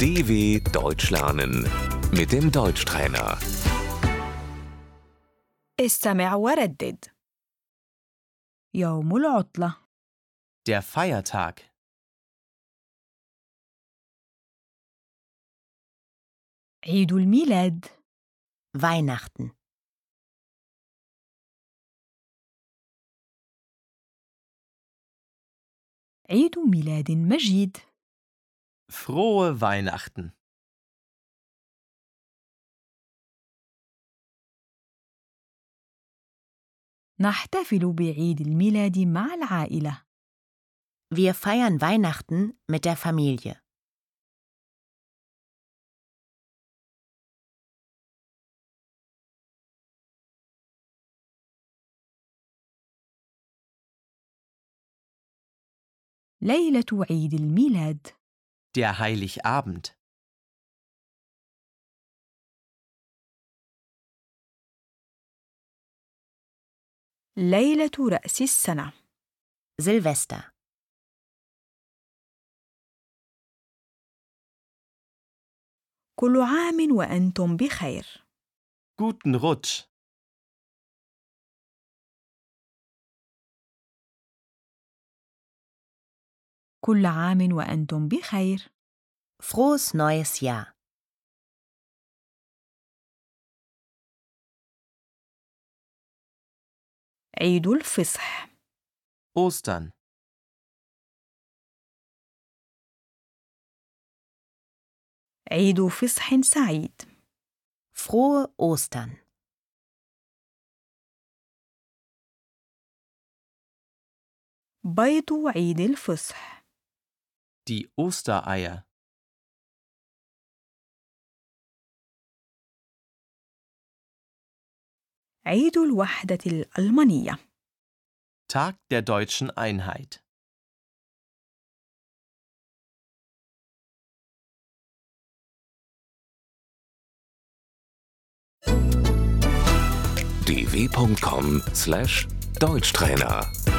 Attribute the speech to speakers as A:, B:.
A: DW Deutsch lernen mit dem Deutschtrainer.
B: استمع وردد يوم العطلة
C: Der Feiertag.
B: عيد الميلاد
D: Weihnachten,
B: عيد ميلاد مجيد
C: Frohe Weihnachten.
B: نحتفل بعيد الميلاد مع العائلة
D: wir feiern Weihnachten mit der Familie.
B: ليلة عيد الميلاد
C: Der Heiligabend.
B: ليلة رأس السنة
D: Silvester,
B: كل عام وأنتم بخير
C: Guten Rutsch.
B: كل عام وأنتم بخير
D: frohes neues Jahr.
B: عيد الفصح
C: Ostern.
B: عيد فصح سعيد
D: Frohe Ostern.
B: بيض عيد الفصح
C: Die Ostereier.
B: عيد الوحدة الألمانية
C: Tag der deutschen Einheit.
A: dw.com/deutschtrainer